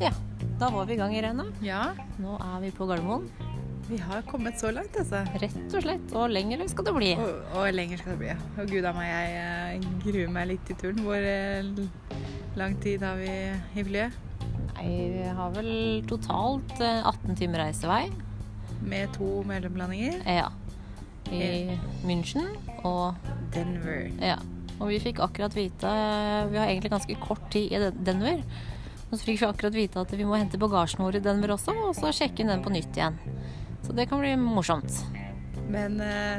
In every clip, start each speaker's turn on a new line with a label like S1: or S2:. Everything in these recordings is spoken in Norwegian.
S1: Ja, da var vi i gang, Irene.
S2: Ja,
S1: Nå er vi på Gardermoen.
S2: vi har kommet så langt, altså.
S1: Rett og slett. Og lenger skal det bli.
S2: Og, og lenger skal det bli. Og gud a meg, jeg eh, gruer meg litt til turen. Hvor eh, l- lang tid har vi i flyet?
S1: Nei, vi har vel totalt eh, 18 timer reisevei.
S2: Med to mellomlandinger.
S1: Eh, Ja. I München og eh,
S2: Denver.
S1: Ja. Og vi fikk akkurat vite eh, Vi har egentlig ganske kort tid i Den- Denver. Og så fikk vi akkurat vite at vi må hente bagasjen vår i Denver også, og så sjekke inn den på nytt igjen. Så det kan bli morsomt.
S2: Men eh,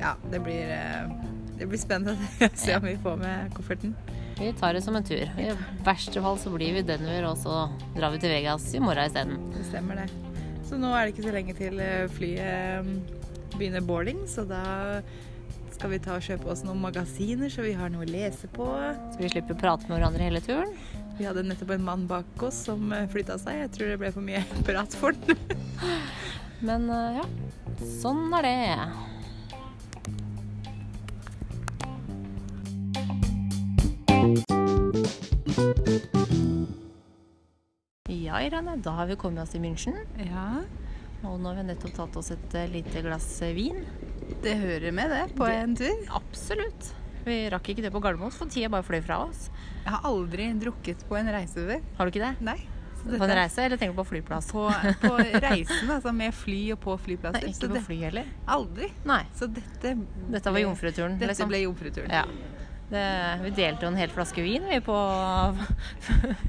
S2: ja, det blir, eh, det blir spennende å se om vi får med kofferten.
S1: Vi tar det som en tur. I verste fall så blir vi i Denver, og så drar vi til Vegas i morgen isteden.
S2: Det stemmer, det. Så nå er det ikke så lenge til eh, flyet eh, begynner boarding, så da skal vi ta og kjøpe oss noen magasiner så vi har noe å lese på.
S1: Så vi slipper å prate med hverandre hele turen.
S2: Vi hadde nettopp en mann bak oss som flytta seg. Jeg tror det ble for mye prat for den.
S1: Men eh, ja, sånn er det. Ja, Irene, da har vi kommet oss til München.
S2: Ja,
S1: Og nå har vi nettopp tatt oss et eh, lite glass eh, vin.
S2: det hører med, det, på
S1: Det-
S2: en tur.
S1: Absolutt. Vi rakk ikke det på Gardermoen, for tida bare fløy fra oss.
S2: Jeg har aldri drukket på en reise før.
S1: Har du ikke det?
S2: Nei. Så
S1: På
S2: dette
S1: en
S2: er
S1: reise, eller tenker du på flyplass?
S2: På, på reisen, altså med fly og på
S1: Nei,
S2: flyplasser.
S1: ikke
S2: så
S1: på
S2: det,
S1: fly heller.
S2: aldri.
S1: Nei.
S2: Så dette
S1: Dette var
S2: ble-
S1: jomfruturen,
S2: Dette
S1: liksom.
S2: ble jomfruturen.
S1: Ja. Det, vi delte jo en hel flaske vin vi på,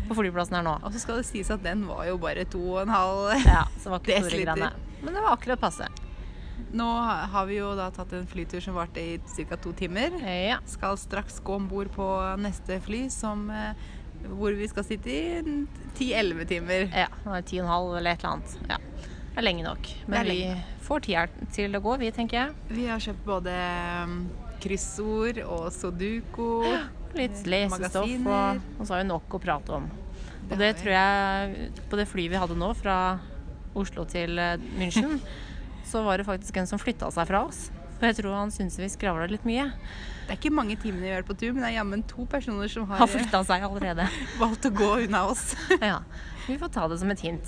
S1: på flyplassen her nå.
S2: Og så skal det sies at den var jo bare to og en halv
S1: Ja, så det var ikke store
S2: Desiliter.
S1: greiene. Men det var akkurat passe.
S2: Nå har vi jo da tatt en flytur som varte i ca. to timer.
S1: Ja.
S2: Skal straks gå om bord på neste fly, som, eh, hvor vi skal sitte i 10-11 timer.
S1: ja nå er det ti og en halv eller et eller annet. Ja. Det er lenge nok. Men
S2: Det er
S1: vi
S2: lenge
S1: får tida til å gå, vi, tenker jeg.
S2: Vi har kjøpt både mm, kryssord og sudoku.
S1: Litt lesestoff,
S2: Mm. Magasiner.
S1: og, og så har vi nok å prate om. Og
S2: Det
S1: det
S2: har vi.
S1: tror jeg På det flyet vi hadde nå, fra Oslo til eh, München, så var det faktisk en som flytta seg fra oss. For jeg tror han syntes vi skravla litt mye.
S2: Det er ikke mange timene vi har vært på tur, men det er jammen to personer som har
S1: Han flytta seg allerede.
S2: eh, valgt å gå unna oss.
S1: Ja. Vi får ta det som et hint.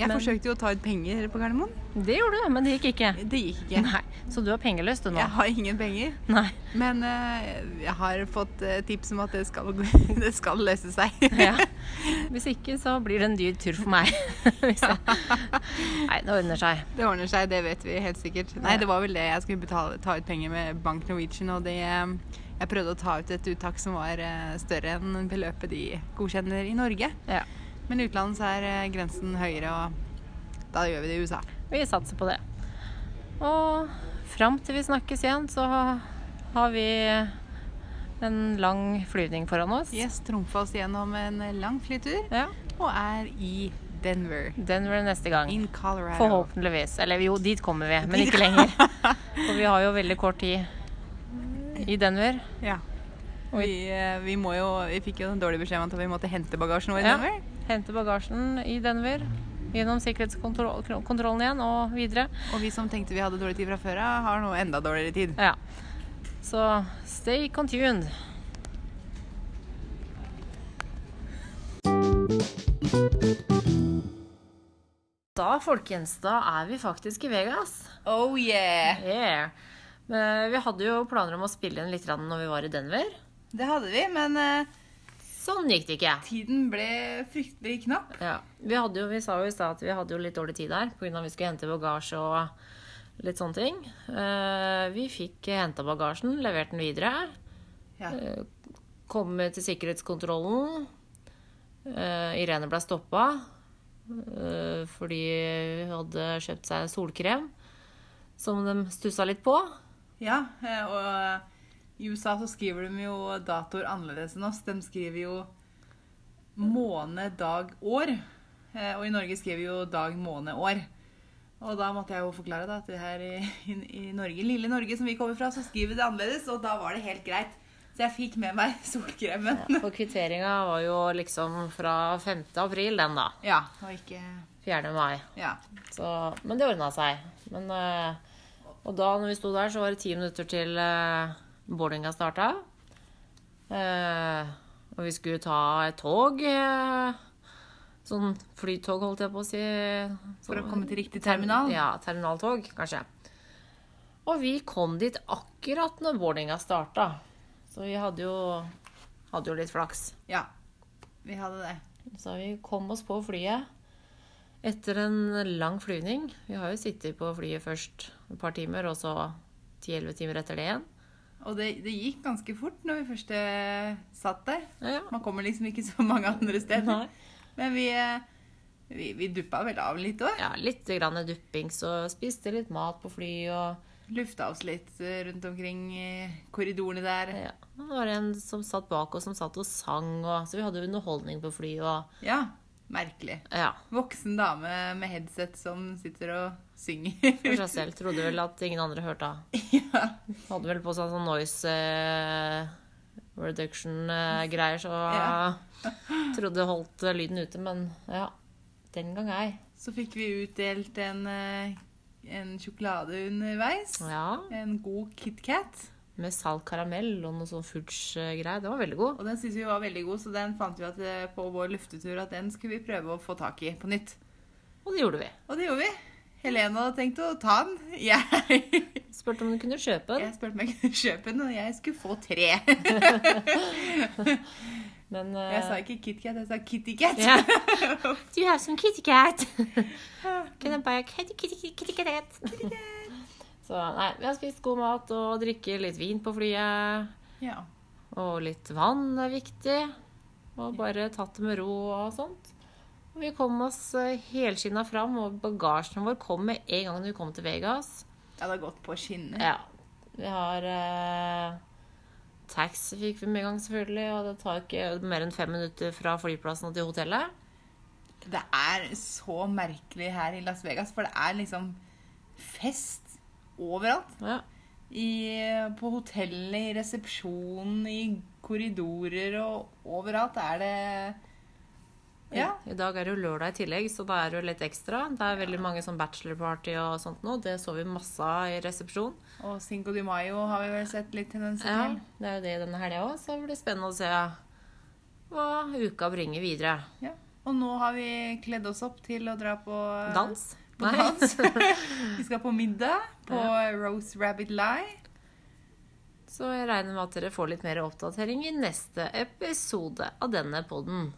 S2: Jeg
S1: Men-
S2: forsøkte jo å ta ut penger på Gardermoen.
S1: Det gjorde du, men det gikk ikke.
S2: Det gikk ikke.
S1: Nei. Så du har pengeløs du nå?
S2: Jeg har ingen penger.
S1: Nei.
S2: Men eh, jeg har fått eh, tips om at det skal, det skal løse seg.
S1: Ja. Hvis ikke, så blir det en dyr tur for meg. Hvis jeg... Nei, det ordner seg.
S2: Det ordner seg, det vet vi helt sikkert. Nei,
S1: Ja.
S2: det var vel det. Jeg skulle betale, ta ut penger med Bank Norwegian, og det eh, Jeg prøvde å ta ut et uttak som var eh, større enn beløpet de godkjenner i Norge.
S1: Ja.
S2: Men i utlandet så er eh, grensen høyere, og da gjør vi det i USA.
S1: Vi satser på det. Og fram til vi snakkes igjen, så har vi en lang flyvning foran oss.
S2: Yes, trumfa oss gjennom en lang flytur,
S1: Ja.
S2: og er i Denver.
S1: Denver neste gang.
S2: In Colorado.
S1: Forhåpentligvis. Eller jo, dit kommer vi, men
S2: Dit-
S1: ikke lenger. For vi har jo veldig kort tid i Denver.
S2: Ja.
S1: Oi.
S2: Vi, eh, vi, må jo, vi fikk jo en dårlig beskjed om at vi måtte hente bagasjen vår i
S1: Ja.
S2: Denver.
S1: Hente bagasjen i Denver. Gjennom sikkerhetskontrollen igjen og videre.
S2: Og vi som tenkte vi hadde dårlig tid fra før av, har nå enda dårligere tid.
S1: Ja. Så stay contuned. Da, folkens, da er vi faktisk i Vegas.
S2: Oh yeah!
S1: Yeah. Men Vi hadde jo planer om å spille inn litt grann når vi var i Denver.
S2: Det hadde vi, men eh,
S1: Sånn gikk det ikke.
S2: tiden ble fryktelig knapp.
S1: Ja. Vi, hadde jo, vi sa jo i stad at vi hadde jo litt dårlig tid der pga. vi skulle hente bagasje og litt sånne ting. Eh, Vi fikk henta bagasjen, levert den videre.
S2: Ja.
S1: Komme til sikkerhetskontrollen. Eh, Irene ble stoppa eh, fordi hun hadde kjøpt seg solkrem som de stussa litt på.
S2: ja, eh, og i USA så skriver de jo datoer annerledes enn oss. De skriver jo måned, dag, år. Eh, Og i Norge skriver vi jo dag, måned, år. Og da måtte jeg jo forklare da, at det her i, i, i Norge, lille Norge som vi kommer fra, så skriver vi det annerledes, og da var det helt greit. Så jeg fikk med meg solkremen.
S1: For kvitteringa var jo liksom fra 5. april, den, da.
S2: Ja, og ikke...
S1: 4. mai.
S2: Ja.
S1: Så, men det ordna seg. Men, eh, og da når vi sto der, så var det ti minutter til eh, boardinga starta. Eh, og vi skulle ta et tog. Eh, sånn flytog, holdt jeg på å si.
S2: For å
S1: Sånn-
S2: komme til riktig terminal?
S1: Ja, terminaltog, kanskje. Og vi kom dit akkurat når boardinga starta. Så vi hadde jo, hadde jo litt flaks.
S2: Ja, vi hadde det.
S1: Så vi kom oss på flyet etter en lang flyvning. Vi har jo sittet på flyet først et par timer, og så 10-11 timer etter det igjen.
S2: Og det, det gikk ganske fort når vi først eh, satt der.
S1: Ja,
S2: Man kommer liksom ikke så mange andre steder.
S1: Nei.
S2: Men vi, eh, vi, vi duppa vel av litt òg.
S1: ja litt grann dupping, så spiste litt mat på fly og
S2: Lufta oss litt eh, rundt omkring i korridorene der.
S1: ja. Det var en som satt bak oss, som satt og sang, og så vi hadde jo underholdning på fly og
S2: Ja, merkelig.
S1: ja.
S2: Voksen dame med headset som sitter og synger.
S1: For seg selv trodde vel at ingen andre hørte. da.
S2: ja.
S1: Hadde vel på seg sånn noise eh, reduction-greier, så eh,
S2: Ja.
S1: trodde det holdt eh, lyden ute, men ja. Den gang ei.
S2: Så fikk vi utdelt en, eh, en sjokolade underveis.
S1: Ja.
S2: En god KitKat.
S1: Med salt karamell og noe sånn fudge-greier. Den var veldig god.
S2: Og den syntes vi var veldig god, så den fant vi at eh, på vår luftetur at den skulle vi prøve å få tak i på nytt.
S1: Og det gjorde vi.
S2: Og det gjorde vi. Helene hadde tenkt å ta den. Jeg,
S1: Spurte om du kunne kjøpe den.
S2: jeg spurte om jeg kunne kjøpe den, og jeg skulle få tre.
S1: Men eh,
S2: Jeg sa ikke KitKat, jeg sa KittyCat.
S1: Ja. Do you have some kitty cat? Can I buy a kitty, kitty, kitty, kitty cat? Så nei, vi har spist god mat og drikker litt vin på flyet.
S2: Ja.
S1: Og litt vann er viktig. Og bare tatt det med ro og sånt. Og vi kom oss eh, helskinna fram, og bagasjen vår kom med en gang vi kom til Vegas.
S2: Jeg hadde gått på skinner.
S1: Ja, vi har eh, Taxi fikk vi med en gang, selvfølgelig. Og det tar ikke mer enn fem minutter fra flyplassen og til hotellet.
S2: Det er så merkelig her i Las Vegas, for det er liksom fest overalt.
S1: Ja.
S2: I, på hotellene, i resepsjonen, i korridorer og overalt er det Ja.
S1: I dag er det jo lørdag i tillegg, så da er det jo litt ekstra. Det er veldig mange sånn bachelorparty og sånt nå. Det så vi masse av i resepsjon.
S2: Og Cinco de Mayo har vi vel sett litt tendenser
S1: Ja,
S2: til.
S1: det er jo det denne helga òg, så det blir spennende å se hva uka bringer videre.
S2: Ja. Og nå har vi kledd oss opp til å dra på eh,
S1: Dans?
S2: På dans. vi skal på middag på Rose Rabbit Lie.
S1: Så jeg regner med at dere får litt mer oppdatering i neste episode av denne poden.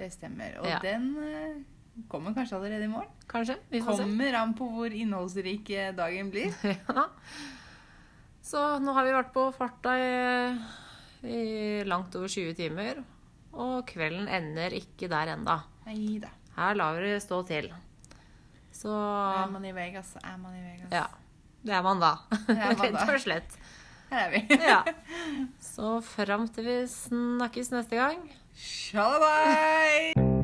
S2: Det stemmer. Og
S1: Ja.
S2: den eh, kommer kanskje allerede i morgen.
S1: Kanskje? Vi får se.
S2: Kommer an på hvor innholdsrik eh, dagen blir.
S1: Ja. Så nå har vi vært på farta i, i langt over 20 timer, og kvelden ender ikke der enda.
S2: Nei da.
S1: Her lar vi det stå til. Så
S2: Er man i Vegas, så er man i Vegas.
S1: ja. Det er man da.
S2: er man da.
S1: Rett og slett.
S2: Her er vi.
S1: Ja. Så fram til vi snakkes neste gang.
S2: Shalabais!